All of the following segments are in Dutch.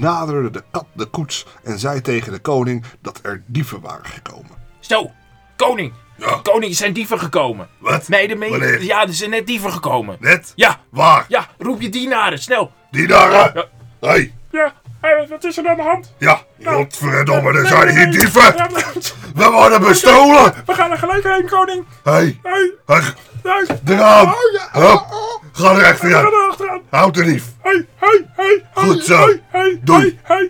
naderde de kat de koets en zei tegen de koning dat er dieven waren gekomen. Zo, koning. Ja. Koning, er zijn dieven gekomen. Wat? Nee, de me- Wanneer? Ja, er zijn net dieven gekomen. Net? Ja, Waar? ja, roep je dienaren, snel. Dienaren? Hé, hey, Ja, hé, wat is er aan de hand? ja, godverdomme, er Nee, zijn nee, hier nee. dieven! Ja, maar- We worden bestolen! We gaan er gelijk heen, koning. Hé, hey, Hé, hey, ja, eraan! Oh, ja. Hup, ga er echt we gaan weer er achteraan. Houd de dief! Hé, hé, hé. Goed zo. Hé, Doei. hé,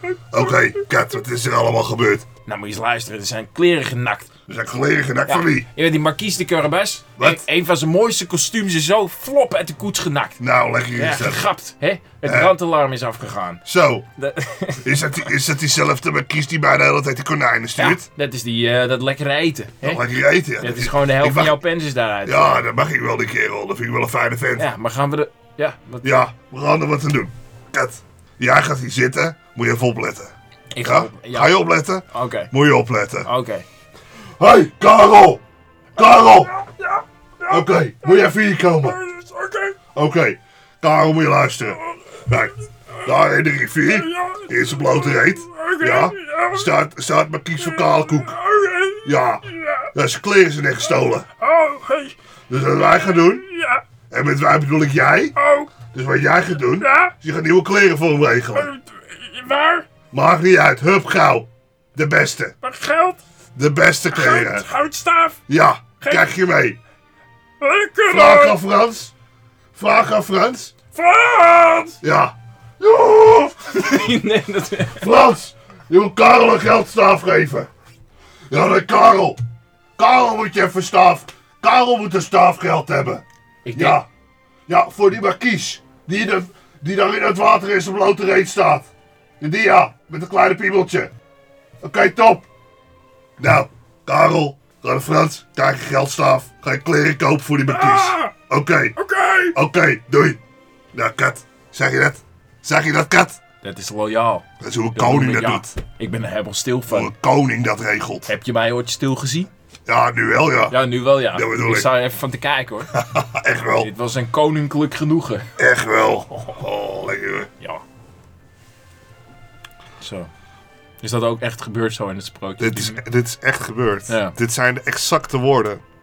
hé. Oké, Kat, wat is er allemaal gebeurd? Dus Nou, moet je eens luisteren, er zijn kleren genakt. Nou, Er zijn geleden genakt van wie? Je weet die marquise de Carabas? Wat? Een van zijn mooiste kostuums is zo flop uit de koets genakt. Nou, leg je Ja, eens uit. gegapt, hè? Het brandalarm is afgegaan. Zo, Dat- is dat, die, is dat diezelfde markies die mij de hele tijd de konijnen Ja, stuurt? dat is die, eh, dat lekkere eten. Hè? Lekker eten. ja. Dat is gewoon de helft Oh, Ik van mag- jouw pens is daaruit. Ja, dat mag ik wel die kerel. Dat vind ik wel een fijne vent. Ja, Ja, maar gaan we de... Ja, wat... we gaan er wat aan doen. Kat, jij gaat hier zitten. Moet je even opletten. Ik Ja? ga... ja, Ga je opletten? Oké, Moet je opletten. oké. Hé, hey, Karel! Karel! Oké, Ja, moet je even hier komen? eh, is oké. Oké, Karel moet je luisteren. Kijk, daar in de rivier, Ja, in zijn blote reet, oké. ja, staat, staat Markies van Kaalkoek. Oh, Oké. Ja, Ja. ja, zijn kleren zijn echt gestolen. Oh, hé. Dus wat wij gaan doen, Ja. en met wij bedoel ik jij, Oh. dus wat jij gaat doen, Ja. is je gaat nieuwe kleren voor hem regelen. eh, Waar? Maakt niet uit, hup gauw. De beste, Maar geld? de beste Goud, kleren. goudstaaf? Ja, krijg je mee. Lekker Vraag hoor. aan Frans. Vraag aan Frans. Frans! Ja. Ja. nee, dat... Frans, je moet Karel een geldstaaf geven. Ja, nee, Karel. Karel moet je even staaf. Karel moet een staafgeld hebben. Ik denk... Ja. Ja, voor die markies. Die, de, die daar in het water in zijn blote reet staat. Die ja, met een kleine piebeltje. Oké, top. Nou, Karel, ga naar Frans, krijg een geldstaaf. Ga je kleren kopen voor die markies. Ah, Oké, Oké. oké, doei. Nou, Kat, zeg je dat? Zeg je dat, Kat? Dat is loyaal. Dat is hoe een Dat koning moet dat ik- ja, doet. Ik ben er helemaal stil Hoe van. een koning dat regelt. Heb je mij ooit stil gezien? Ja, nu wel, ja. Ja, nu wel ja. Dat bedoel ik ik. sta er even van te kijken hoor. Echt wel, Dit was een koninklijk genoegen. echt wel. Oh, lekker. hoor. Ja. Zo. Is dat ook echt gebeurd zo in het sprookje? Dit is, dit is echt gebeurd. Ja. Dit zijn de exacte woorden.